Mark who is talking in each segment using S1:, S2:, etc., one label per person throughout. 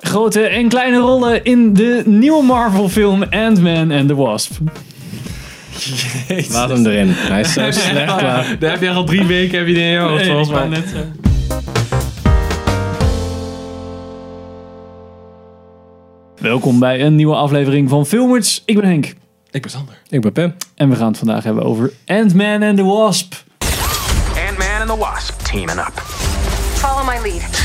S1: Grote en kleine rollen in de nieuwe Marvel-film Ant-Man and the Wasp.
S2: Laat hem erin. Hij is zo slecht, maar...
S3: Daar heb je al drie weken heb je in je hoofd,
S1: Nee,
S3: volgens
S1: ik wou
S3: mij.
S1: Oh, net zeggen. Welkom bij een nieuwe aflevering van Filmers. Ik ben Henk
S3: Ik ben Sander.
S2: Ik ben Pim.
S1: en we gaan het vandaag hebben over Ant-Man and the Wasp.
S4: Ant-Man and the Wasp teaming up.
S5: Follow my lead.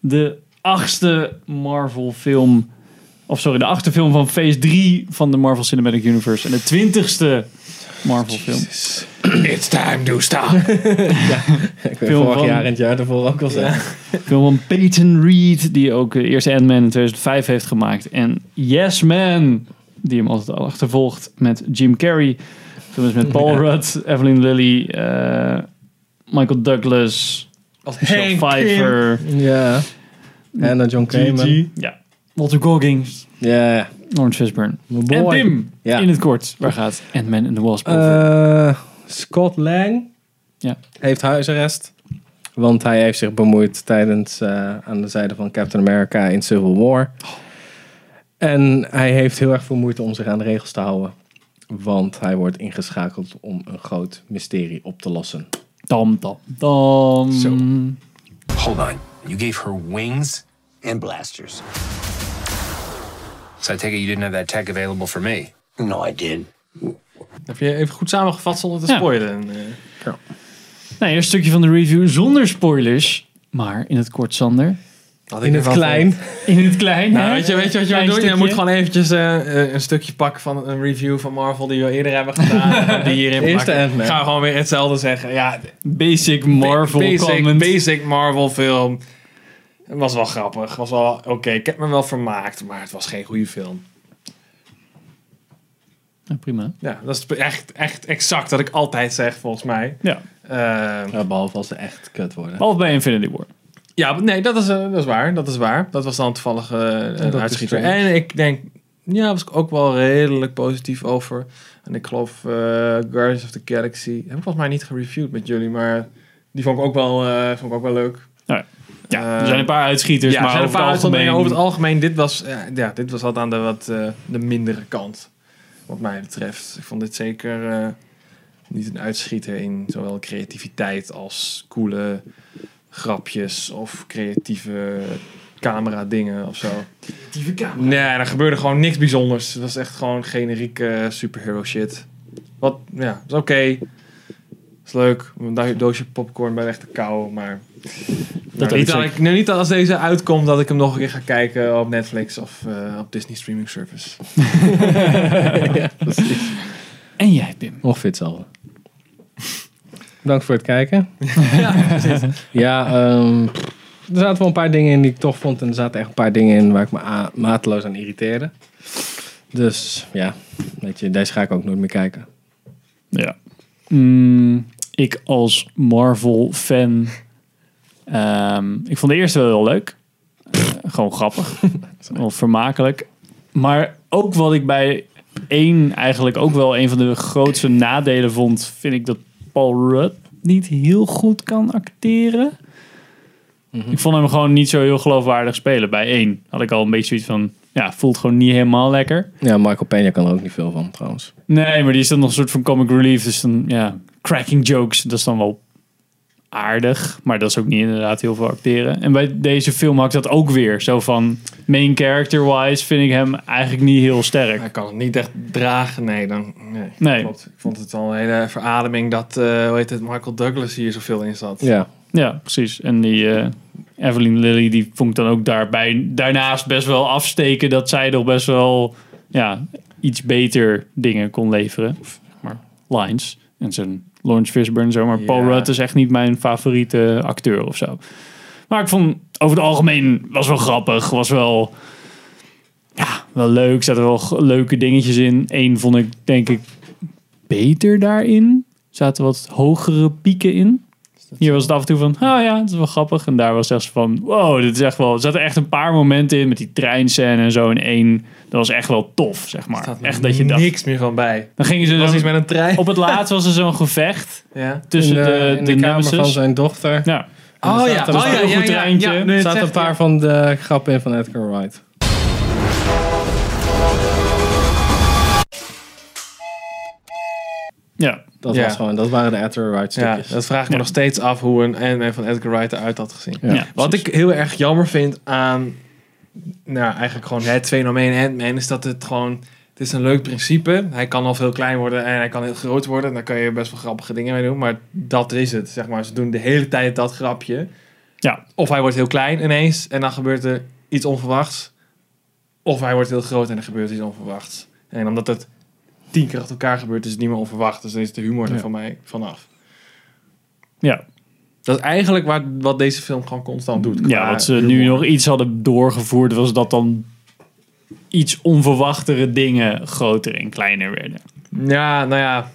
S1: de achtste Marvel film. Of sorry, de achtste film van phase 3 van de Marvel Cinematic Universe. En de twintigste Marvel film.
S3: It's time to stop.
S2: Ik ben
S1: Film
S2: vorig
S1: van-
S2: jaar en het jaar daarvoor ook al zeggen.
S1: Film van Peyton Reed, die ook de eerste Ant-Man in 2005 heeft gemaakt. En Yes Man, die hem altijd al achtervolgt met Jim Carrey. Films met Paul Rudd, Evelyn Lilly, eh, Michael Douglas,
S3: Als
S1: Michelle Pfeiffer,
S2: Ja. En dan John Kramer.
S1: ja, Walter Goggins,
S2: Ja.
S1: Lawrence Fishburne.
S2: Mijn
S1: En
S2: boy.
S1: Pim,
S2: Ja.
S1: in het kort, waar gaat Ant-Man and the Wasp over?
S2: Eh, Scott Lang
S1: Ja.
S2: heeft huisarrest. Want hij heeft zich bemoeid tijdens eh, aan de zijde van Captain America in Civil War. En hij heeft heel erg veel moeite om zich aan de regels te houden. Want hij wordt ingeschakeld om een groot mysterie op te lossen.
S1: Dam, dam, dam.
S3: Zo.
S4: Hold on. You gave her wings and blasters.
S6: So I take it you didn't have that tech available for me.
S4: No, I did.
S3: Heb je even goed samengevat zonder te
S1: Ja.
S3: spoilen? eh?
S1: Nou, eerst een stukje van de review zonder spoilers. Maar in het kort, Sander.
S3: Had ik
S2: In
S3: er
S2: het
S3: wel
S2: klein.
S1: In het klein.
S3: Nou, weet je, weet je wat je moet
S1: Klein
S3: doen? Je moet
S1: stukje.
S3: gewoon eventjes eh, eh, een stukje pakken van een review van Marvel die we eerder hebben gedaan. die hierin
S2: Eerste
S3: pakken.
S2: Ant-Man.
S3: Gaan we gewoon weer hetzelfde zeggen. Ja,
S1: Basic Marvel
S3: basic,
S1: comment.
S3: basic Marvel film. Was wel grappig. Was wel oké. Ik heb me wel vermaakt, maar het was geen goede film.
S1: Nou, prima.
S3: Ja, dat is echt, echt exact wat ik altijd zeg, volgens mij.
S1: Ja.
S3: Eh,
S2: Ja, behalve als ze echt kut worden.
S1: Behalve bij Infinity War.
S3: ja, nee, dat is, eh, dat is waar. Dat is waar. Dat was dan toevallig eh, een
S2: is
S3: uitschieter.
S2: strange.
S3: En ik denk, ja, was ik ook wel redelijk positief over. En ik geloof eh, Guardians of the Galaxy. Heb ik volgens mij niet gereviewd met jullie, maar die vond ik ook wel, eh, vond ik ook wel leuk.
S1: Ja, er
S3: Eh,
S1: zijn een paar uitschieters,
S3: ja,
S1: dus maar
S3: maar
S1: over
S3: zijn over,
S1: het algemeen...
S3: over het algemeen, dit was, eh, ja, dit was wat aan de, wat, eh, de mindere kant. Wat mij betreft. Ik vond dit zeker eh, niet een uitschieter in zowel creativiteit als coole grapjes of creatieve camera dingen of zo. Nee, er gebeurde gewoon niks bijzonders. Het was echt gewoon generieke eh, superhero shit. Wat, ja, is oké. Is leuk. Een do- doosje popcorn bij weg te kauwen, maar...
S1: Dat
S3: nou, niet
S1: heb
S3: dat
S1: ik
S3: ik, nou, niet dat als deze uitkomt dat ik hem nog een keer ga kijken op Netflix of eh, op Disney Streaming Service.
S1: En jij, Pim.
S2: Ongeveer hetzelfde. Bedankt voor het kijken. ja, ehm, er zaten wel een paar dingen in die ik toch vond. En er zaten echt een paar dingen in waar ik me a- mateloos aan irriteerde. Dus ja, weet je, deze ga ik ook nooit meer kijken.
S1: Ja. Mm, ik als Marvel-fan... ehm, ik vond de eerste wel heel leuk. Eh, gewoon grappig. wel vermakelijk. Maar ook wat ik bij één eigenlijk ook wel een van de grootste nadelen vond... vind ik dat Paul Rudd niet heel goed kan acteren. Ik vond hem gewoon niet zo heel geloofwaardig spelen. Bij één had ik al een beetje zoiets van... ja, voelt gewoon niet helemaal lekker.
S2: Ja, Michael Peña kan er ook niet veel van trouwens.
S1: Nee, maar die is dan nog een soort van comic relief. Dus dan, ja, cracking jokes, dat is dan wel aardig. Maar dat is ook niet inderdaad heel veel acteren. En bij deze film had ik dat ook weer. Zo van, main character-wise vind ik hem eigenlijk niet heel sterk.
S3: Hij kan het niet echt dragen, nee. Dan, nee,
S1: Nee.
S3: Klopt. Ik vond het al een hele verademing dat, eh, hoe heet het, Michael Douglas hier zoveel in zat.
S2: Ja,
S1: Ja, precies. En die eh, Evelyn Lilly, die vond ik dan ook daarbij, daarnaast best wel afsteken... dat zij toch best wel ja, iets beter dingen kon leveren. Of, zeg maar lines. En zijn Lawrence Fishburne en zo. Maar Paul
S3: Ja.
S1: Rudd is echt niet mijn favoriete acteur of zo. Maar ik vond over het algemeen was wel grappig. Was wel, ja, wel leuk. Zaten wel g- leuke dingetjes in. Eén vond ik denk ik beter daarin. Zaten wat hogere pieken in.
S2: Dat-
S1: Hier was het af en toe van, ah ja, dat is wel grappig. En daar was echt van, wow, dit is echt wel... Er zaten echt een paar momenten in met die treinscène en zo in één. Dat was echt wel tof, zeg maar.
S3: staat
S1: echt dat je dacht...
S3: niks meer van bij.
S1: Dan gingen ze
S3: Er was
S1: zo-
S3: iets met een trein.
S1: Op het laatst was er zo'n gevecht
S3: Oh, Ja.
S1: tussen
S2: in
S1: de,
S2: in
S1: de,
S2: kamer
S1: nemesis.
S2: van zijn dochter. Er
S1: Ja.
S3: Oh ja,
S2: zaten-
S3: oh ja,
S1: heel
S3: ja,
S1: goed
S3: ja,
S1: treintje.
S3: ja. Nee, het
S2: zaten
S3: zegt-
S2: een paar van de grappen in van Edgar Wright.
S1: ja.
S2: Dat
S3: Ja.
S2: was gewoon, dat waren de Edgar Wright
S3: Ja,
S2: stukjes.
S3: dat vraag ik me
S1: Ja.
S3: nog steeds af hoe een Ant-Man van Edgar Wright eruit had gezien.
S2: Ja,
S1: Ja,
S3: Wat
S1: precies.
S3: ik heel erg jammer vind aan, nou eigenlijk gewoon het fenomeen Ant-Man, is dat het gewoon, het is een leuk principe. Hij kan al veel klein worden en hij kan heel groot worden. En daar kan je best wel grappige dingen mee doen, maar dat is het. Zeg maar, ze doen de hele tijd dat grapje.
S1: Ja.
S3: Of hij wordt heel klein ineens en dan gebeurt er iets onverwachts. Of hij wordt heel groot en er gebeurt iets onverwachts. En omdat het tien keer achter elkaar gebeurt, is het niet meer onverwacht. Dus dan is de humor er
S2: Ja.
S3: van mij vanaf.
S1: Ja.
S3: Dat is eigenlijk waar, wat deze film gewoon constant doet.
S1: ja,
S3: qua
S1: wat ze
S3: humor.
S1: nu nog iets hadden doorgevoerd was dat dan iets onverwachtere dingen groter en kleiner werden.
S3: Ja, nou ja.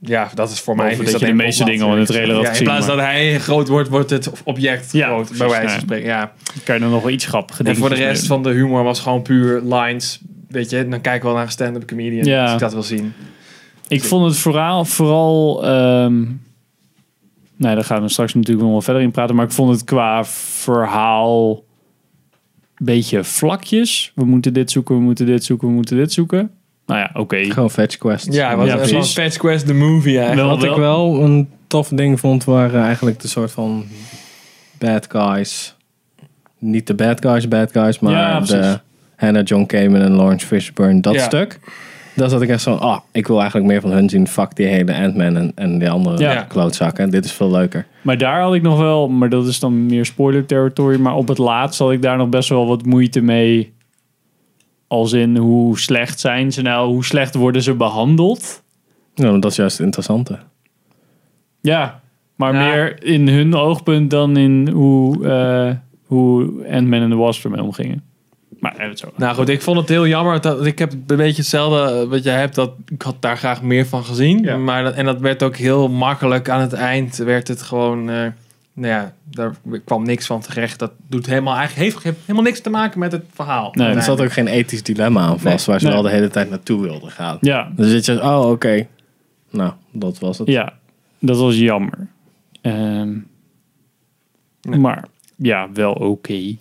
S3: Ja, dat is voor mij...
S1: Behalve
S3: is
S1: dat je
S3: één
S1: de meeste
S3: opmaat,
S1: dingen al in de trailer had
S3: ja,
S1: gezien,
S3: In plaats
S1: maar-
S3: dat hij groot wordt, wordt het object
S1: Ja,
S3: groot.
S1: precies,
S3: bij wijze
S1: ja.
S3: van spreken, ja.
S1: Dan kan je er nog wel iets grappiger
S3: En voor de
S1: dingetjes
S3: rest
S1: mee
S3: van de humor was gewoon puur lines. Weet je, dan kijk ik wel naar een stand-up comedian
S1: Ja.
S3: als ik dat wil zien.
S1: doen. Ik vond het vooral, vooral ehm nou, daar gaan we straks natuurlijk nog wel verder in praten, maar ik vond het qua verhaal een beetje vlakjes. We moeten dit zoeken, we moeten dit zoeken, we moeten dit zoeken. Nou ja, oké.
S2: Gewoon fetch quests.
S3: Ja, het was
S1: Ja,
S3: het was
S1: precies.
S3: gewoon Fetch Quest the movie eigenlijk.
S1: Wel-
S2: Wat ik wel een tof ding vond, waren eigenlijk de soort van bad guys. Niet de bad guys, bad guys, maar
S1: Ja, precies.
S2: de Hannah John Kamen en Lawrence Fishburne, dat
S3: Ja.
S2: stuk. Daar zat ik echt zo, ah, ik wil eigenlijk meer van hun zien. Fuck die hele Ant-Man en, en die andere
S1: Ja.
S2: klootzakken. Dit is veel leuker.
S1: Maar daar had ik nog wel, maar dat is dan meer spoiler territory. Maar op het laatst had ik daar nog best wel wat moeite mee. Als in hoe slecht zijn ze nou, hoe slecht worden ze behandeld.
S2: Nou, dat is juist het interessante.
S1: Ja, maar
S3: Ja.
S1: meer in hun oogpunt dan in hoe, eh hoe Ant-Man en de Wasp ermee omgingen. Maar eh, het zo.
S3: Nou goed, ik vond het heel jammer. Dat, ik heb een beetje hetzelfde eh, wat jij hebt. Dat, ik had daar graag meer van gezien.
S1: Ja.
S3: Maar dat, en dat werd ook heel makkelijk. Aan het eind werd het gewoon... eh, nou ja, daar kwam niks van terecht. Dat doet helemaal, eigenlijk heeft, heeft helemaal niks te maken met het verhaal.
S1: Nee,
S2: er zat ook geen ethisch dilemma aan vast, waar ze
S1: Nee.
S2: wel de hele tijd naartoe wilden gaan.
S1: Ja,
S2: Dus je zegt, oh, oké. Nou, dat was het.
S1: ja, dat was jammer. Ehm,
S3: Nee.
S1: Maar ja, wel oké.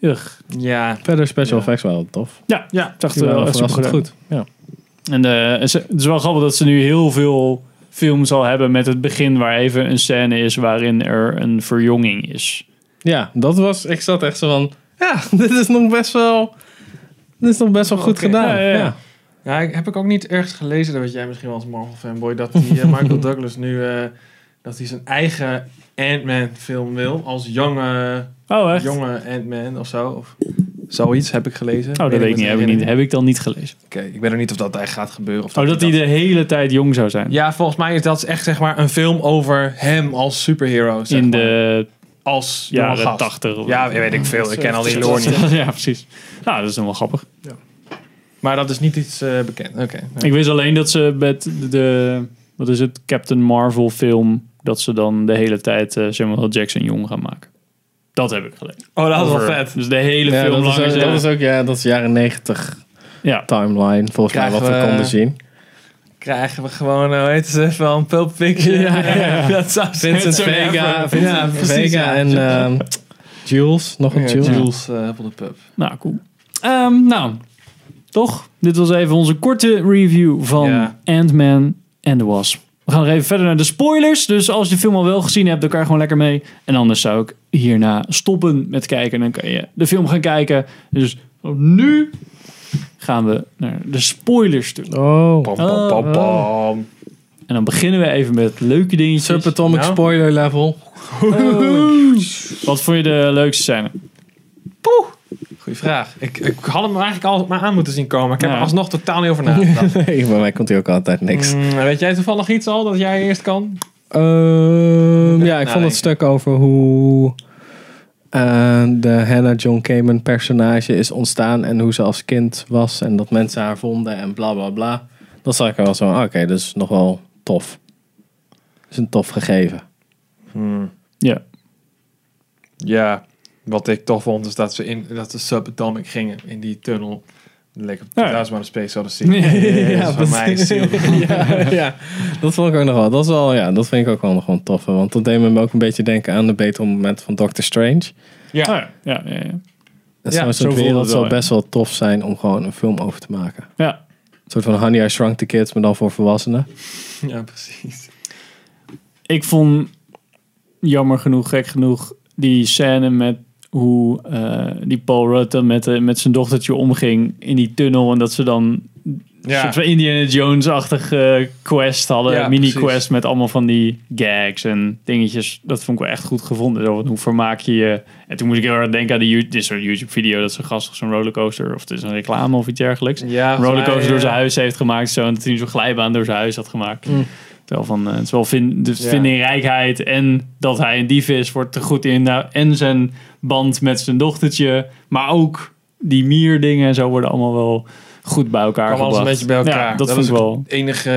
S1: Ugh.
S3: Ja,
S2: Verder special
S3: Ja.
S2: effects waren tof.
S1: Ja,
S3: ja.
S1: dacht
S2: Die waren
S1: wel echt eh,
S2: verrassend
S1: supergedaan.
S2: goed. Ja.
S1: En eh, ze- het is wel grappig dat ze nu heel veel films al hebben met het begin waar even een scène is waarin er een verjonging is.
S2: Ja, dat was. Ik zat echt zo van. Ja, dit is nog best wel. Dit is nog best wel goed
S3: Oké.
S2: gedaan.
S1: Ja,
S2: Ja,
S1: ja, ja.
S3: Ja, ik- heb ik ook niet ergens gelezen, dat weet jij misschien wel als Marvel fanboy, dat die eh, Michael Douglas nu eh, dat hij zijn eigen Ant-Man film wil als jonge,
S1: Oh, echt?
S3: jonge Ant-Man of zo. Of zoiets heb ik gelezen.
S1: Oh, dat weet ik niet. Heb ik, niet, heb ik dan niet gelezen.
S3: Oké, ik weet ook niet of dat eigenlijk gaat gebeuren. Of
S1: Oh, dat hij de hele tijd jong zou zijn.
S3: Ja, volgens mij is dat echt zeg maar een film over hem als superhero. Zeg
S1: in
S3: maar.
S1: de
S3: als jonge
S1: jaren
S3: gast.
S1: tachtig.
S3: Ja, weet ik veel. Ik ken al die lore niet.
S1: ja, precies. Nou, dat is dan wel grappig.
S3: Maar dat is niet iets eh, bekend. Oké.
S1: Ik wist alleen dat ze met de, wat is het, Captain Marvel film, dat ze dan de hele tijd eh, Samuel L. Jackson jong gaan maken. Dat heb ik gelezen.
S3: Oh, dat is wel
S1: Over-
S3: vet.
S1: Dus de hele
S2: Ja,
S1: film
S2: dat,
S1: lang is
S2: is ook, dat is
S1: er-
S2: ook. Ja, dat is jaren 90
S1: Ja,
S2: timeline. Volgens mij wat
S3: Krijgen
S2: we
S3: we-
S2: konden zien.
S3: Krijgen we gewoon, eh, hoe heet ze, van Pulp Fiction. Dat zou
S2: Vincent Vega, Vincent Vega en ehm, Jules. Nog een
S3: Ja,
S2: Jules.
S3: Jules eh, op de pub.
S1: nou cool. Ehm, nou, toch? Dit was even onze korte review van
S3: Ja.
S1: Ant-Man and the Wasp. We gaan nog even verder naar de spoilers. Dus als je de film al wel gezien hebt, dan kan je gewoon lekker mee. En anders zou ik hierna stoppen met kijken. En dan kan je de film gaan kijken. Dus nu gaan we naar de spoilers toe.
S2: Oh.
S3: Pam, pam, pam, pam.
S1: En dan beginnen we even met leuke dingetjes. Oh.
S2: Subatomic
S3: Nou.
S2: spoiler level.
S1: Wat vond je de leukste scène?
S3: Goeie vraag. Ik, ik had hem eigenlijk al maar aan moeten zien komen. maar Ik heb
S1: Ja.
S3: er alsnog totaal niet over nagedacht.
S2: Nee, bij mij komt hij ook altijd niks.
S3: Mm, weet jij toevallig iets al dat jij eerst kan?
S2: Ehm, ja, ik vond
S1: nou,
S3: nadenken.
S2: het stuk over hoe eh, de Hannah John Kamen personage is ontstaan en hoe ze als kind was en dat mensen haar vonden en bla bla bla. Dat zag ik wel zo, ah, oké, dat is nog wel tof. Dat is een tof gegeven.
S3: Hmm.
S1: Ja.
S3: Ja, wat ik tof vond is dat ze in dat ze subatomic gingen in die tunnel. Lekker
S1: Ja.
S3: ja. maar de Space Odyssey. dat is voor mij ziel.
S2: ja, ja, dat vond ik ook nog wel. Dat, is wel ja, dat vind ik ook wel nog wel een toffe. Want dat deed me ook een beetje denken aan de betere moment van Doctor Strange.
S3: Ja.
S1: Oh, ja. Ja, ja, ja.
S2: Dat
S1: Ja,
S2: zou
S1: zo
S2: zo'n
S1: voelde
S2: wereld
S1: het
S2: zou
S1: wel, ja.
S2: best wel tof zijn om gewoon een film over te maken.
S1: ja.
S2: Een soort van Honey, I Shrunk the Kids, maar dan voor volwassenen.
S3: Ja, precies.
S1: Ik vond jammer genoeg, gek genoeg, die scène met hoe eh, die Paul Rudd dan met, eh, met zijn dochtertje omging in die tunnel. En dat ze dan een
S3: Ja,
S1: soort van Indiana Jones-achtige quest hadden.
S3: Ja, precies.
S1: Mini-quest met allemaal van die gags en dingetjes. Dat vond ik wel echt goed gevonden. Zo, van, hoe vermaak je je... En toen moest ik heel erg denken aan die, You- dit is zo'n YouTube-video... dat zo'n gast op zo'n rollercoaster... of het is een reclame of iets dergelijks...
S3: Ja,
S1: een rollercoaster
S3: volgens mij, eh,
S1: door zijn
S3: ja.
S1: huis heeft gemaakt. Zo, en dat hij zo'n glijbaan door zijn huis had gemaakt. Terwijl van, eh, het is wel vin, dus
S3: Ja.
S1: vindingrijkheid... en dat hij een dief is, wordt er goed in. Nou, en zijn band met zijn dochtertje... maar ook die mierdingen en zo worden allemaal wel... Goed bij elkaar
S3: kwam alles een
S1: gebracht.
S3: beetje bij elkaar.
S1: Ja, dat, vond ik
S3: was
S1: wel.
S3: het enige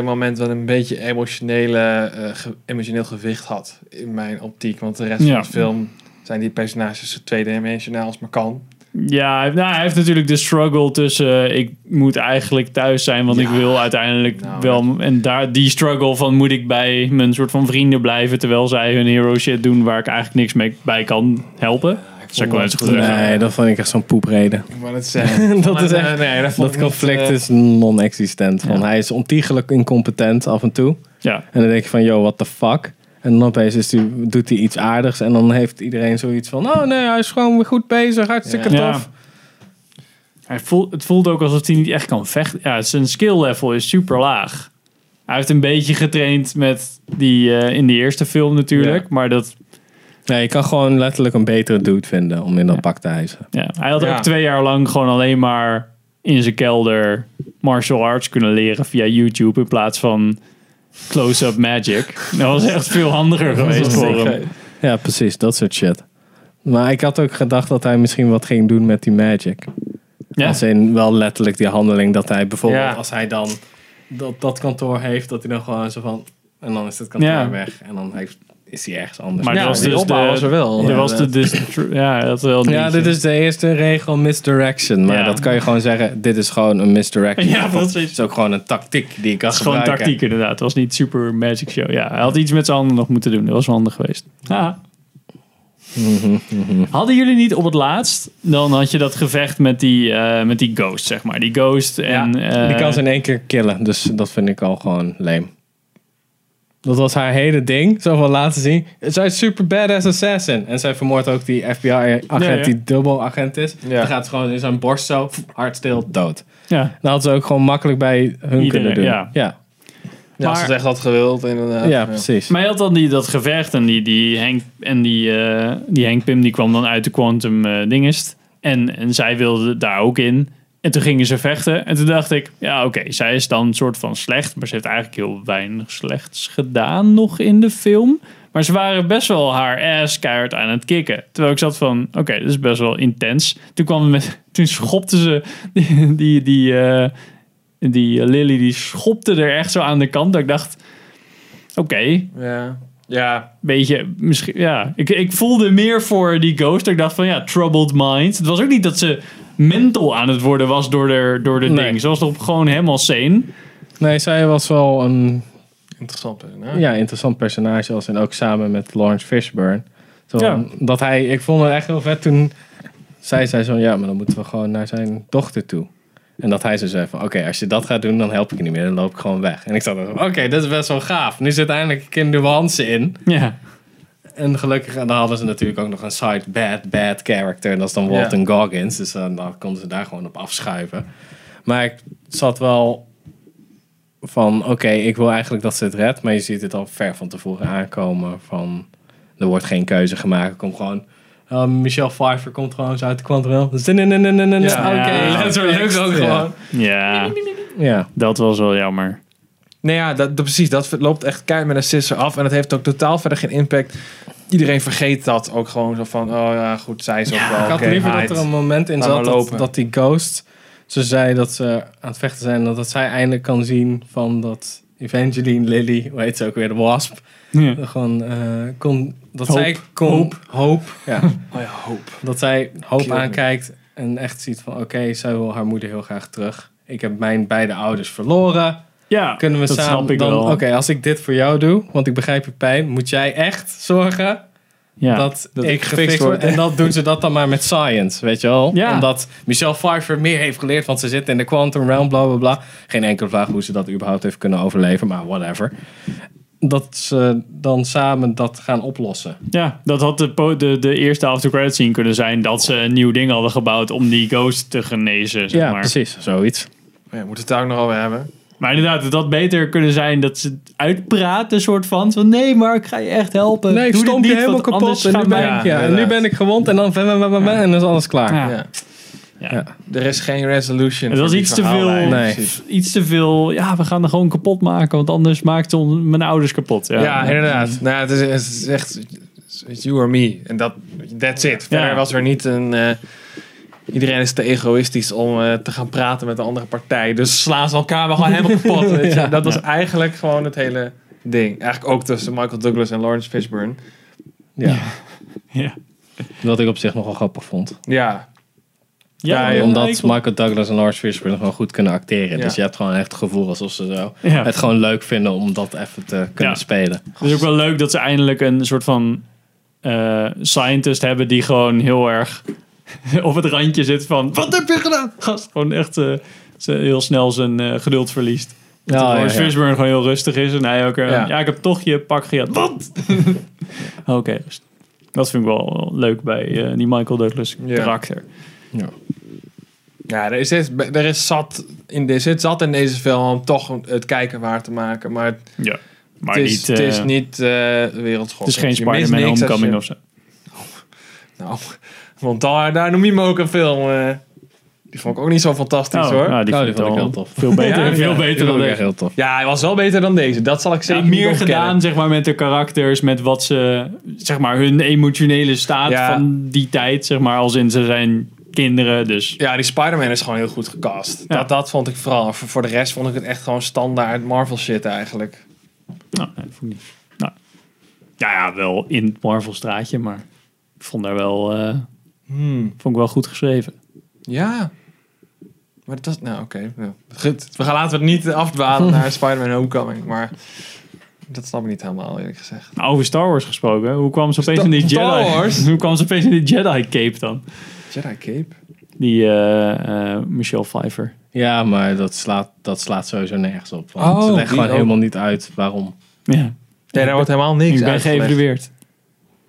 S3: eh, moment dat een beetje emotionele, eh, ge- emotioneel gewicht had in mijn optiek. Want de rest
S1: Ja.
S3: van de film zijn die personages zo tweedimensionaal als maar kan.
S1: Ja, hij- nou, hij heeft natuurlijk de struggle tussen eh, ik moet eigenlijk thuis zijn, want ik wil uiteindelijk
S3: nou,
S1: wel. En daar die struggle van moet ik bij mijn soort van vrienden blijven, terwijl zij hun hero shit doen waar ik eigenlijk niks mee bij kan helpen. Dat zou ik wel eens goed zeggen.
S2: Nee, dat vond ik echt zo'n poepreden.
S3: Ik wou het zeggen.
S2: Dat is
S3: Eh,
S2: echt-
S3: nee, dat, vond
S2: Dat
S3: ik niet,
S2: conflict
S3: eh,
S2: is non-existent. Van,
S1: Ja.
S2: Hij is ontiegelijk incompetent af en toe.
S1: Ja,
S2: En dan denk je van, yo, what the fuck? En dan opeens is die, doet hij iets aardigs. En dan heeft iedereen zoiets van, oh nee, hij is gewoon weer goed bezig. Hartstikke
S1: Ja.
S2: tof.
S1: Hij voelt, het voelt ook alsof hij niet echt kan vechten. Ja, zijn skill level is super laag. Hij heeft een beetje getraind met die eh, in de eerste film natuurlijk, maar dat
S2: Nee, je kan gewoon letterlijk een betere dude vinden om in dat pak te hijsen.
S1: Ja, hij had
S3: Ja.
S1: ook twee jaar lang gewoon alleen maar in zijn kelder martial arts kunnen leren via YouTube in plaats van close-up magic. Dat was echt veel handiger geweest voor hem.
S2: Ja, precies. Dat soort shit. Maar ik had ook gedacht dat hij misschien wat ging doen met die magic.
S1: Ja,
S2: Als in wel letterlijk die handeling dat hij bijvoorbeeld,
S3: Ja.
S2: als hij dan dat, dat kantoor heeft, dat hij dan gewoon zo van. En dan is het kantoor
S1: Ja.
S2: weg. En dan heeft, is hij ergens anders.
S1: maar
S3: Ja,
S1: dat was
S3: die
S1: dus de,
S3: opbouw was er wel,
S1: Er was de,
S2: inderdaad.
S1: dus, ja, dat wel een
S2: ja,
S1: dingetje.
S2: dit is de eerste regel misdirection. Maar
S1: Ja.
S2: dat kan je gewoon zeggen, dit is gewoon een misdirection.
S1: Ja, dat is-
S2: is ook gewoon een tactiek die ik kan
S1: Het is gewoon
S2: gebruiken.
S1: tactiek inderdaad. Het was niet super magic show. Ja, hij had iets met zijn handen nog moeten doen. Dat was wel handig geweest. Ja. Hadden jullie niet op het laatst, dan had je dat gevecht met die, eh, met die ghost, zeg maar. Die ghost en... eh,
S2: die kan ze in één keer killen. Dus dat vind ik al gewoon leem. Dat was haar hele ding. Zo van laten zien. Zij is super badass assassin. En zij vermoordt ook die FBI-agent
S1: Ja, ja.
S2: die dubbel agent is.
S3: Ja.
S2: Dan gaat ze gewoon in zijn borst zo pff, hardstil dood.
S1: Ja,
S2: Dan had ze ook gewoon makkelijk bij hun kunnen doen.
S1: ja.
S2: Ja.
S3: Ja, als ze
S1: Maar-
S3: het echt had gewild, inderdaad.
S2: Ja, precies.
S1: Maar hij had dan die, dat gevecht en die, die Henk en die, eh, die Henk Pim die kwam dan uit de Quantum eh, Dingest. En, en zij wilde daar ook in. En toen gingen ze vechten. En toen dacht ik, ja oké, zij is dan een soort van slecht. Maar ze heeft eigenlijk heel weinig slechts gedaan nog in de film. Maar ze waren best wel haar ass keihard aan het kicken. Terwijl ik zat van, oké, dit is best wel intens. Toen kwam het met, toen schopte ze die, die, die, eh, die Lily, die schopte er echt zo aan de kant. Dat ik dacht, oké,
S3: Ja. Ja,
S1: beetje, misschien, ja. Ik, ik voelde meer voor die ghost. Ik dacht van, ja, troubled mind. Het was ook niet dat ze mental aan het worden was door de, door de
S2: Nee.
S1: ding. Ze was toch gewoon helemaal sane.
S2: Nee, zij was wel een
S3: interessant. Hè? Nou,
S2: ja, interessant personage. Als en ook samen met Lawrence Fishburne. Zo,
S1: Ja.
S2: dat hij, ik vond het echt heel vet toen zij zei zo, ja, maar dan moeten we gewoon naar zijn dochter toe. En dat hij zo zei van, oké, als je dat gaat doen, dan help ik je niet meer. Dan loop ik gewoon weg. En ik zat er zo, oké, dat is best wel gaaf. Nu zit eindelijk een keer nuance in.
S1: Ja.
S2: En gelukkig, dan hadden ze natuurlijk ook nog een side bad, bad character. En dat is dan Walton Goggins. Dus dan, dan konden ze daar gewoon op afschuiven. Maar ik zat wel van, oké, ik wil eigenlijk dat ze het redt. Maar je ziet het al ver van tevoren aankomen van, er wordt geen keuze gemaakt. Er komt gewoon, eh, Michelle Pfeiffer komt gewoon eens uit de kwantrel. Dus, nee, nee, nee, nee, nee, nee,
S3: Ja.
S1: Ja.
S2: oké. Zo leuk ook gewoon.
S1: Ja,
S2: Ja.
S1: dat was wel jammer.
S3: Nee, ja, dat, dat- precies. Dat loopt echt keihard met een sisser af. En dat heeft ook totaal verder geen impact. Iedereen vergeet dat ook gewoon zo van... Oh ja, goed, zij is ook wel...
S2: Ik had
S3: oké,
S2: liever
S3: meid.
S2: dat er een moment in
S3: Laat
S2: zat
S3: maar
S2: dat,
S3: lopen.
S2: dat die ghost... Ze zei dat ze aan het vechten zijn. Dat, dat zij eindelijk kan zien van dat Evangeline Lily... Hoe heet ze ook weer? De wasp.
S1: Ja.
S2: Gewoon, eh, kon, dat
S1: Hoop.
S2: zij kon, hoop. ja,
S3: Oh ja, hoop.
S2: dat zij hoop
S3: Kill me.
S2: aankijkt en echt ziet van oké, zij wil haar moeder heel graag terug. Ik heb mijn beide ouders verloren.
S1: Ja,
S2: Kunnen we
S1: dat
S2: samen
S1: snap ik
S2: dan,
S1: wel.
S2: oké, als ik dit voor jou doe, want ik begrijp je pijn, moet jij echt zorgen
S1: ja.
S2: dat,
S3: dat
S2: ik
S3: ik
S2: gefixt
S3: gefixt
S2: word.
S3: word.
S2: En dat doen ze dat dan maar met science, weet je wel?
S1: Ja.
S2: Omdat Michelle Pfeiffer meer heeft geleerd, want ze zit in de quantum realm, bla bla bla. Geen enkele vraag hoe ze dat überhaupt heeft kunnen overleven, maar whatever. Dat ze dan samen dat gaan oplossen.
S1: ja, dat had de, po- de, de eerste after credit scene kunnen zijn dat ze een nieuw ding hadden gebouwd om die ghost te genezen. Zeg maar.
S2: precies, zoiets.
S3: Maar ja, moet het daar ook nog over hebben.
S1: maar inderdaad, het had beter kunnen zijn dat ze het uitpraten, soort van. Van nee, maar ik ga je echt helpen.
S2: Nee, ik
S1: Doe dit
S2: stomp je
S1: niet,
S2: helemaal
S1: want
S2: kapot.
S1: anders
S2: En nu,
S1: gaan
S2: ben,
S1: wij-
S2: ik-
S3: Ja,
S2: ja, en nu
S3: inderdaad.
S2: ben ik gewond en dan... En dan is alles klaar.
S1: Ja.
S3: Ja.
S1: Ja.
S3: Er is geen resolution.
S1: Het was
S3: voor
S1: iets
S3: die
S1: te veel.
S3: verhaallijn.
S2: Nee.
S3: Precies.
S1: Iets te veel. Ja, we gaan er gewoon kapot maken, want anders maakt ze ons- mijn ouders kapot. Ja,
S3: Ja, inderdaad. Nou, het, is, het is echt it's you or me. En dat, that's it. Verder
S1: Ja.
S3: was er niet een... eh, iedereen is te egoïstisch om eh, te gaan praten met de andere partij. Dus slaan ze elkaar wel gewoon helemaal kapot. weet je. Dat was eigenlijk gewoon het hele ding. Eigenlijk ook tussen Michael Douglas en Lawrence Fishburne.
S2: Ja.
S1: Ja.
S2: Wat ik op zich nogal grappig vond.
S3: Ja,
S1: Ja,
S3: Ja,
S2: Omdat
S1: ik-
S2: Michael Douglas en Lawrence Fishburne gewoon goed kunnen acteren.
S3: Ja.
S2: Dus je hebt gewoon echt het gevoel alsof ze zo
S1: Ja.
S2: het gewoon leuk vinden om dat even te kunnen
S1: Ja.
S2: spelen.
S1: Het is ook wel leuk dat ze eindelijk een soort van eh, scientist hebben die gewoon heel erg op het randje zit van... Wat heb je gedaan? Gast, gewoon echt eh, ze heel snel zijn eh, geduld verliest. Dat
S2: Ja,
S1: Lawrence
S2: ja, ja.
S1: Fishburne gewoon heel rustig is en hij ook... eh, ja.
S3: Ja.
S1: ik heb toch je pak gejat. Wat? Oké, dus dat vind ik wel leuk bij eh, die Michael Douglas
S3: Ja.
S1: karakter.
S3: ja er, is, er, is zat in, er zit zat in deze film om toch het kijken waar te maken. Maar het,
S1: Ja, maar
S3: is,
S1: niet...
S3: het is
S1: eh,
S3: niet eh wereldschokkend.
S1: het is geen
S3: Je mist
S1: Spider-Man
S3: niks als
S1: Homecoming
S3: je-
S1: of zo.
S3: Nou, want daar, daar noem je me ook een film. eh. die vond ik ook niet zo fantastisch
S1: Oh,
S3: hoor.
S1: nou, die
S2: Oh,
S1: vond ik wel
S2: heel tof.
S1: Veel beter,
S3: Ja,
S1: veel
S3: ja.
S1: beter dan deze.
S2: heel tof.
S3: Ja, hij was wel beter dan deze. Dat zal ik
S1: Ze
S3: zeker
S1: hebben meer
S3: niet ontkennen.
S1: gedaan, zeg maar, met de karakters, met wat ze, zeg maar, hun emotionele staat
S3: Ja.
S1: van die tijd, zeg maar, als in ze zijn kinderen, dus
S3: Ja, die Spider-Man is gewoon heel goed gecast.
S1: Ja.
S3: Dat, dat vond ik vooral. Voor, voor de rest vond ik het echt gewoon standaard Marvel shit eigenlijk.
S1: nou, nee, vond ik niet. Nou, ja, ja, wel in het Marvel straatje, maar ik vond daar wel, eh,
S3: Hmm.
S1: vond ik wel goed geschreven.
S3: Ja. Maar dat... Nou, oké. Ja. Goed. We gaan laten we het niet afdwalen naar Spider-Man Homecoming. Maar dat snap ik niet helemaal eerlijk gezegd.
S1: Nou, over Star Wars gesproken, hoe kwam ze opeens
S3: Sta-
S1: in die
S3: Star
S1: Jedi?
S3: Wars?
S1: Hoe kwam ze opeens in die Jedi cape dan?
S3: Jedi Cape?
S1: Die eh, eh, Michelle Pfeiffer.
S2: Ja, maar dat slaat, dat slaat sowieso nergens op. Want
S3: Oh,
S2: ze
S3: die
S2: leggen gewoon
S3: ook.
S2: helemaal niet uit waarom.
S1: Ja,
S3: Nee, daar wordt helemaal niks
S1: ik ben
S3: uitgelegd.
S1: geëvalueerd.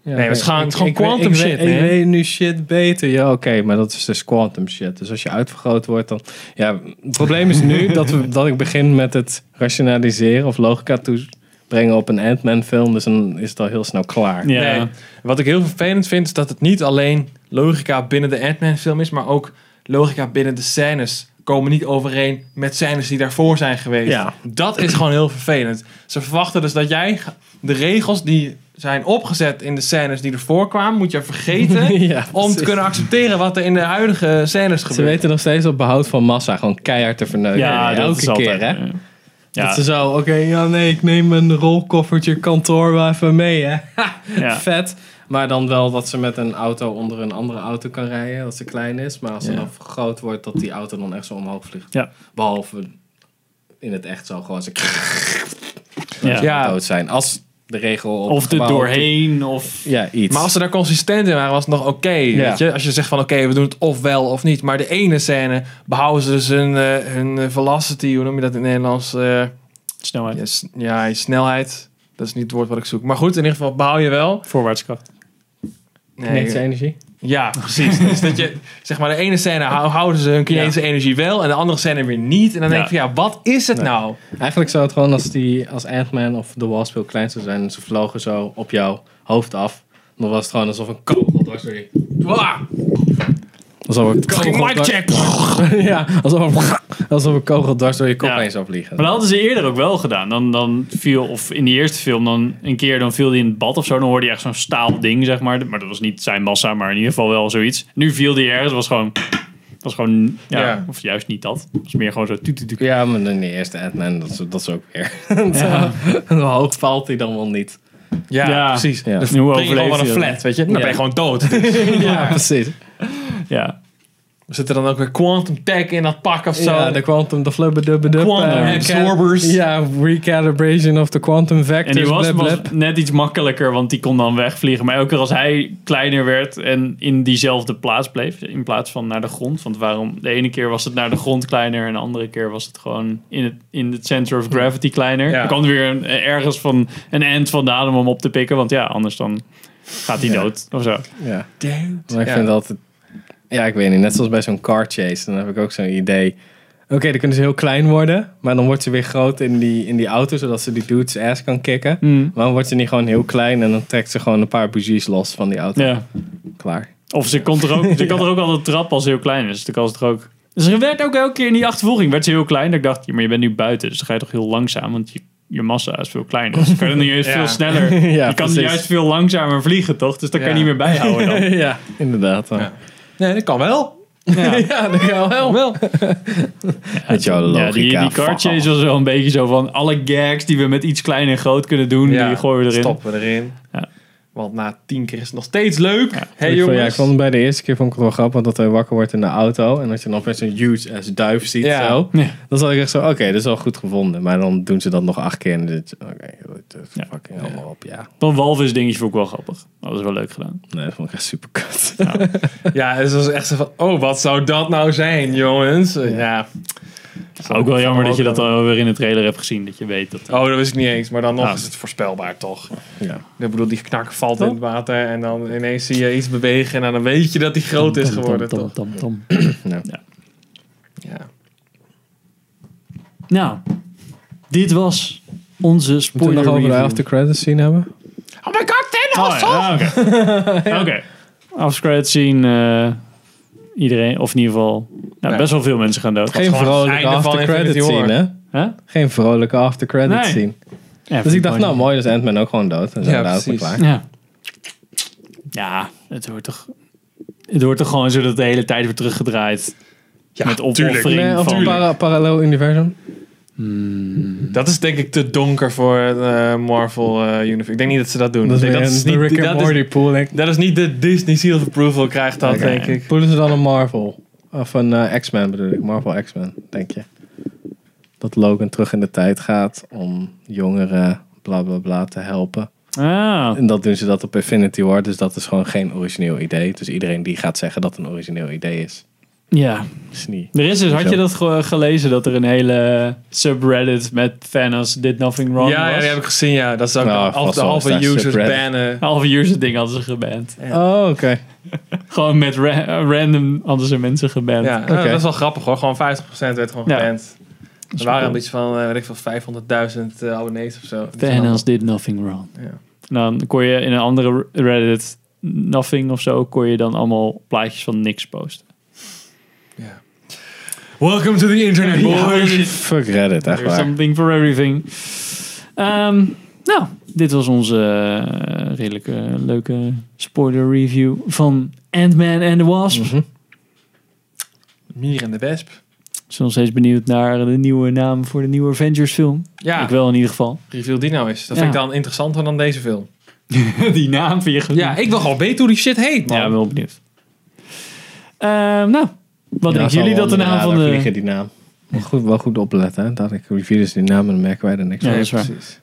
S3: Nee, maar het is gewoon, het is gewoon
S2: Ik weet-
S3: quantum
S2: ik weet-
S3: shit,
S2: Ik
S3: man.
S2: weet nu shit beter. Ja, oké, maar dat is dus quantum shit. Dus als je uitvergroot wordt, dan... Ja, het probleem is nu dat, we, dat ik begin met het rationaliseren of logica toebrengen op een Ant-Man film. Dus dan is het al heel snel klaar.
S1: Ja.
S3: Nee. Wat ik heel vervelend vind, is dat het niet alleen logica binnen de Ant-Man film is, maar ook logica binnen de scènes komen niet overeen met scènes die daarvoor zijn geweest.
S2: Ja.
S3: Dat is gewoon heel vervelend. Ze verwachten dus dat jij de regels die zijn opgezet in de scènes die ervoor kwamen, moet je vergeten
S2: Ja,
S3: om te
S2: precies.
S3: kunnen accepteren wat er in de huidige scènes
S2: Ze
S3: gebeurt.
S2: weten nog steeds op behoud van massa gewoon keihard te verneuken.
S1: Ja, dat
S2: elke
S1: is altijd,
S2: keer, hè?
S1: eh, Ja,
S2: Dat ze zo, oké, ja nee, ik neem mijn rolkoffertje kantoor wel even mee, hè.
S1: ja.
S2: Vet. Maar dan wel dat ze met een auto onder een andere auto kan rijden, als ze klein is. Maar als ze
S3: Ja.
S2: dan groot wordt, dat die auto dan echt zo omhoog vliegt.
S1: Ja.
S2: Behalve in het echt zo, gewoon ze
S1: Ja.
S2: dood zijn. Als de regel... op
S1: Of
S2: het
S1: er
S2: gebouw-
S1: doorheen, of...
S2: Ja, iets.
S3: Maar als ze daar consistent in waren, was het nog oké.
S2: Ja.
S3: weet je? Als je zegt van oké, we doen het of wel of niet. Maar de ene scène behouden ze dus hun, eh, hun eh, velocity, hoe noem je dat in het Nederlands? Eh,
S1: Snelheid.
S3: ja, s- ja, je snelheid. Dat is niet het woord wat ik zoek. Maar goed, in ieder geval behou je wel.
S1: Voorwaartskracht.
S2: Kinetische energie.
S3: ja, precies. dus dat je, zeg maar, de ene scène hou- houden ze hun kinetische energie wel en de andere scène weer niet. En dan denk
S1: Ja.
S3: je van ja, wat is het nou?
S2: Eigenlijk zou het gewoon als, die, als Ant-Man of The Wasp heel klein zou zijn... en ze vlogen zo op jouw hoofd af... dan was het gewoon alsof een kogel dwars door die...
S3: Wah,
S2: Alsof een
S3: fucking
S2: kogel
S3: mic
S2: dwars-
S3: check.
S2: ja, alsof, alsof een kogel dwars door je kop
S1: Ja.
S2: heen zou vliegen.
S1: Maar dat hadden ze eerder ook wel gedaan. Dan, dan viel, of in die eerste film, dan een keer dan viel hij in het bad of zo. Dan hoorde je echt zo'n staal ding, zeg maar. Maar dat was niet zijn massa, maar in ieder geval wel zoiets. Nu viel die ergens, was gewoon... Was gewoon ja,
S3: Ja.
S1: Of juist niet dat. Was meer gewoon zo... tuut, tuut, tuut.
S2: Ja, maar dan de eerste Ant-Man, dat is, dat is ook weer. Zo, Hoe hoog valt hij dan wel niet?
S3: Ja,
S1: Ja.
S3: precies. Dus
S2: Ja.
S3: Dan
S1: Hoe
S3: spring je
S1: overleef
S3: gewoon van
S1: je
S3: een
S1: dat?
S3: flat, weet je. Dan
S2: Ja.
S3: ben je gewoon dood. Dus
S2: Ja, precies.
S1: Ja.
S3: Zit er dan ook weer quantum tech in dat pak of zo?
S2: Ja, de quantum, de flubbedubbedub.
S3: Quantum
S2: eh,
S3: absorbers.
S2: Ja, recalibration of the quantum vectors.
S1: En die was,
S2: blub,
S1: was
S2: blub.
S1: net iets makkelijker, want die kon dan wegvliegen. Maar elke keer als hij kleiner werd en in diezelfde plaats bleef, in plaats van naar de grond. Want waarom? De ene keer was het naar de grond kleiner en de andere keer was het gewoon in het, in het center of gravity kleiner.
S3: Ja.
S1: Er kwam weer een, ergens van een end van de adem om op te pikken, want ja, anders dan gaat hij dood of zo.
S2: Ja.
S3: Damn.
S2: Maar ik
S3: Ja.
S2: vind altijd... Ja, ik weet niet. Net zoals bij zo'n car chase. Dan heb ik ook zo'n idee. Oké, dan kunnen ze heel klein worden. Maar dan wordt ze weer groot in die, in die auto. Zodat ze die dude's ass kan kicken.
S1: Mm.
S2: Waarom wordt ze niet gewoon heel klein? En dan trekt ze gewoon een paar bougies los van die auto.
S1: Ja.
S2: Klaar.
S1: Of ze kon er ook, ze kon er ook altijd trappen als ze heel klein is. Dan kan ze er ook. Dus ze werd ook elke keer in die achtervolging werd ze heel klein. Dat ik dacht, ja, maar je bent nu buiten, dus dan ga je toch heel langzaam, want je, je massa is veel kleiner. Dus dan kan je niet eens
S3: Ja.
S1: veel sneller.
S2: Ja,
S1: je kan
S2: precies.
S1: juist veel langzamer vliegen, toch? Dus dan kan je
S3: Ja.
S1: niet meer bijhouden dan.
S2: ja, inderdaad. dan.
S3: Ja. Nee, dat kan wel.
S2: Ja, dat kan wel.
S3: Wel.
S2: Met jouw logica.
S1: Ja, die, die car
S2: fuck off.
S1: chase was wel een beetje zo van alle gags die we met iets klein en groot kunnen doen, die gooien we erin.
S3: Stoppen we erin.
S1: Ja.
S3: Want na tien keer is het nog steeds leuk. Hé hey,
S2: ik, vond, ja, ik
S3: jongens.
S2: vond het bij de eerste keer vond ik het wel grappig dat hij wakker wordt in de auto. En dat je dan opeens een huge ass duif ziet.
S3: Ja.
S2: Zo.
S1: Ja.
S2: Dan zat ik echt zo, oké, dat is wel goed gevonden. Maar dan doen ze dat nog acht keer. En dit, oké, dit
S1: Ja.
S2: fucking allemaal op. Ja,
S1: Dan walvis dingetje vond ik wel grappig. Dat is wel leuk gedaan.
S2: nee, dat vond ik echt super kut.
S3: Ja, het was echt zo van, oh, wat zou dat nou zijn, jongens? Ja.
S1: Ook wel jammer dat je dat al weer in de trailer hebt gezien, dat je weet dat.
S3: Oh, dat wist ik niet eens. Maar dan nog
S1: Ah.
S3: is het voorspelbaar, toch?
S2: Ja.
S3: Ik bedoel, die knak valt in het water en dan ineens zie je iets bewegen en dan weet je dat die groot is geworden,
S1: Tom,
S3: toch?
S1: tom, tom,
S3: Ja.
S1: Nou, dit was onze
S2: Moeten we
S1: spoiler
S2: nog over de
S1: review.
S2: after credits scene hebben?
S3: Oh my god, Thanos!
S1: Oh, ja, ah, Oké. Oké. Aftercredits zien eh, iedereen, of in ieder geval nou,
S3: Ja.
S1: best wel veel mensen gaan dood.
S2: Geen
S3: gewoon het
S2: vrolijke
S3: einde van
S2: after credits
S3: Infinity
S2: scene,
S3: War.
S2: hè?
S1: Huh?
S2: Geen vrolijke after credits
S1: Nee.
S2: scene.
S1: Ja,
S2: Dus ik dacht, nou mooi, dus Ant-Man ook gewoon dood. En zo,
S3: Ja,
S2: nou, ook maar
S3: precies.
S2: klaar.
S1: Ja. ja, het wordt toch... Het wordt toch gewoon zo dat de hele tijd weer teruggedraaid.
S3: Ja,
S1: met
S3: tuurlijk.
S1: opoffering
S2: Nee, Eh, of
S1: van...
S2: een para- parallel universum.
S3: Dat is denk ik te donker voor eh, Marvel eh Universe. Ik denk niet dat ze dat doen.
S2: Dat is
S3: Ik denk
S2: weer
S3: is
S2: een
S3: niet-
S2: Rick and
S3: dat is-
S2: Morty pool. denk ik.
S3: Dat is niet de Disney Seal of Approval krijgt dat, denk ik.
S2: Poelen ze dan een Marvel? Of een eh, X-Men bedoel ik. Marvel X-Men, denk je. Dat Logan terug in de tijd gaat om jongeren bla bla bla te helpen.
S1: Ah,
S2: En dat doen ze dat op Infinity War. Dus dat is gewoon geen origineel idee. Dus iedereen die gaat zeggen dat het een origineel idee is.
S1: ja.
S2: Is niet.
S1: Er is dus, had
S2: Zo.
S1: je dat ge- gelezen, dat er een hele subreddit met Thanos did nothing wrong
S3: Ja,
S1: was?
S3: ja, die heb ik gezien, ja. Dat zou ik
S2: Nou,
S3: nou,
S2: vast
S3: de
S2: wel
S3: halve
S2: eens daar
S3: users
S2: subreddit.
S3: bannen.
S1: Half uur zijn ding hadden ze geband.
S2: Oh, oké.
S1: Gewoon met ra- random hadden ze mensen geband.
S3: Ja,
S2: Oké.
S3: dat is wel grappig hoor. Gewoon 50% werd gewoon
S1: Ja.
S3: geband. Er
S1: wel
S3: waren
S1: cool.
S3: iets van, eh, weet ik veel, 500.000 eh, abonnees of zo. Die zijn
S1: Thanos did nothing wrong.
S3: Ja.
S1: En dan kon je in een andere Reddit, nothing of zo, kon je dan allemaal plaatjes van niks posten.
S3: allemaal- ja. Welcome to the internet, boys!
S2: Fuck Reddit, echt
S1: There's
S2: waar.
S1: something for everything. Ehm, nou, dit was onze eh, redelijke leuke spoiler review van Ant-Man and the Wasp. Ik
S3: Mier en de Wesp.
S1: zijn nog steeds benieuwd naar de nieuwe naam voor de nieuwe Avengers film.
S3: Ja,
S1: Ik wel in ieder geval.
S3: reveal die nou is. Dat
S1: Ja.
S3: vind ik dan interessanter dan deze film.
S1: Die naam vind je goed.
S3: Ja, ik wil gewoon weten hoe die shit heet, man.
S1: Ja, ik ben wel benieuwd. Ehm, nou, wat
S2: Ja,
S1: denken
S2: zal
S1: jullie dat
S2: wel
S1: de
S2: onder
S1: naam van
S2: radar
S1: de...
S2: vliegen, die naam. Maar goed, wel goed opletten, hè. Dat ik review dus die naam en dan merken wij er niks
S1: Ja,
S2: van.
S1: dat is waar.
S3: precies.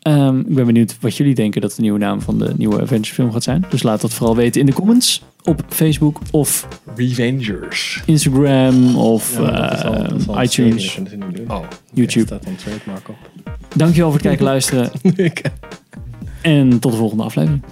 S1: Ehm, ik ben benieuwd wat jullie denken dat de nieuwe naam van de nieuwe Avengers film gaat zijn. Dus laat dat vooral weten in de comments. Op Facebook of
S3: Revengers.
S1: Instagram of
S2: Ja, dat is al- dat is al
S1: eh,
S2: een serie, dat
S1: iTunes,
S2: kunnen ze niet doen.
S3: Oh.
S1: YouTube.
S2: Daar staat een trademark op.
S1: Dankjewel voor het kijken, luisteren en tot de volgende aflevering.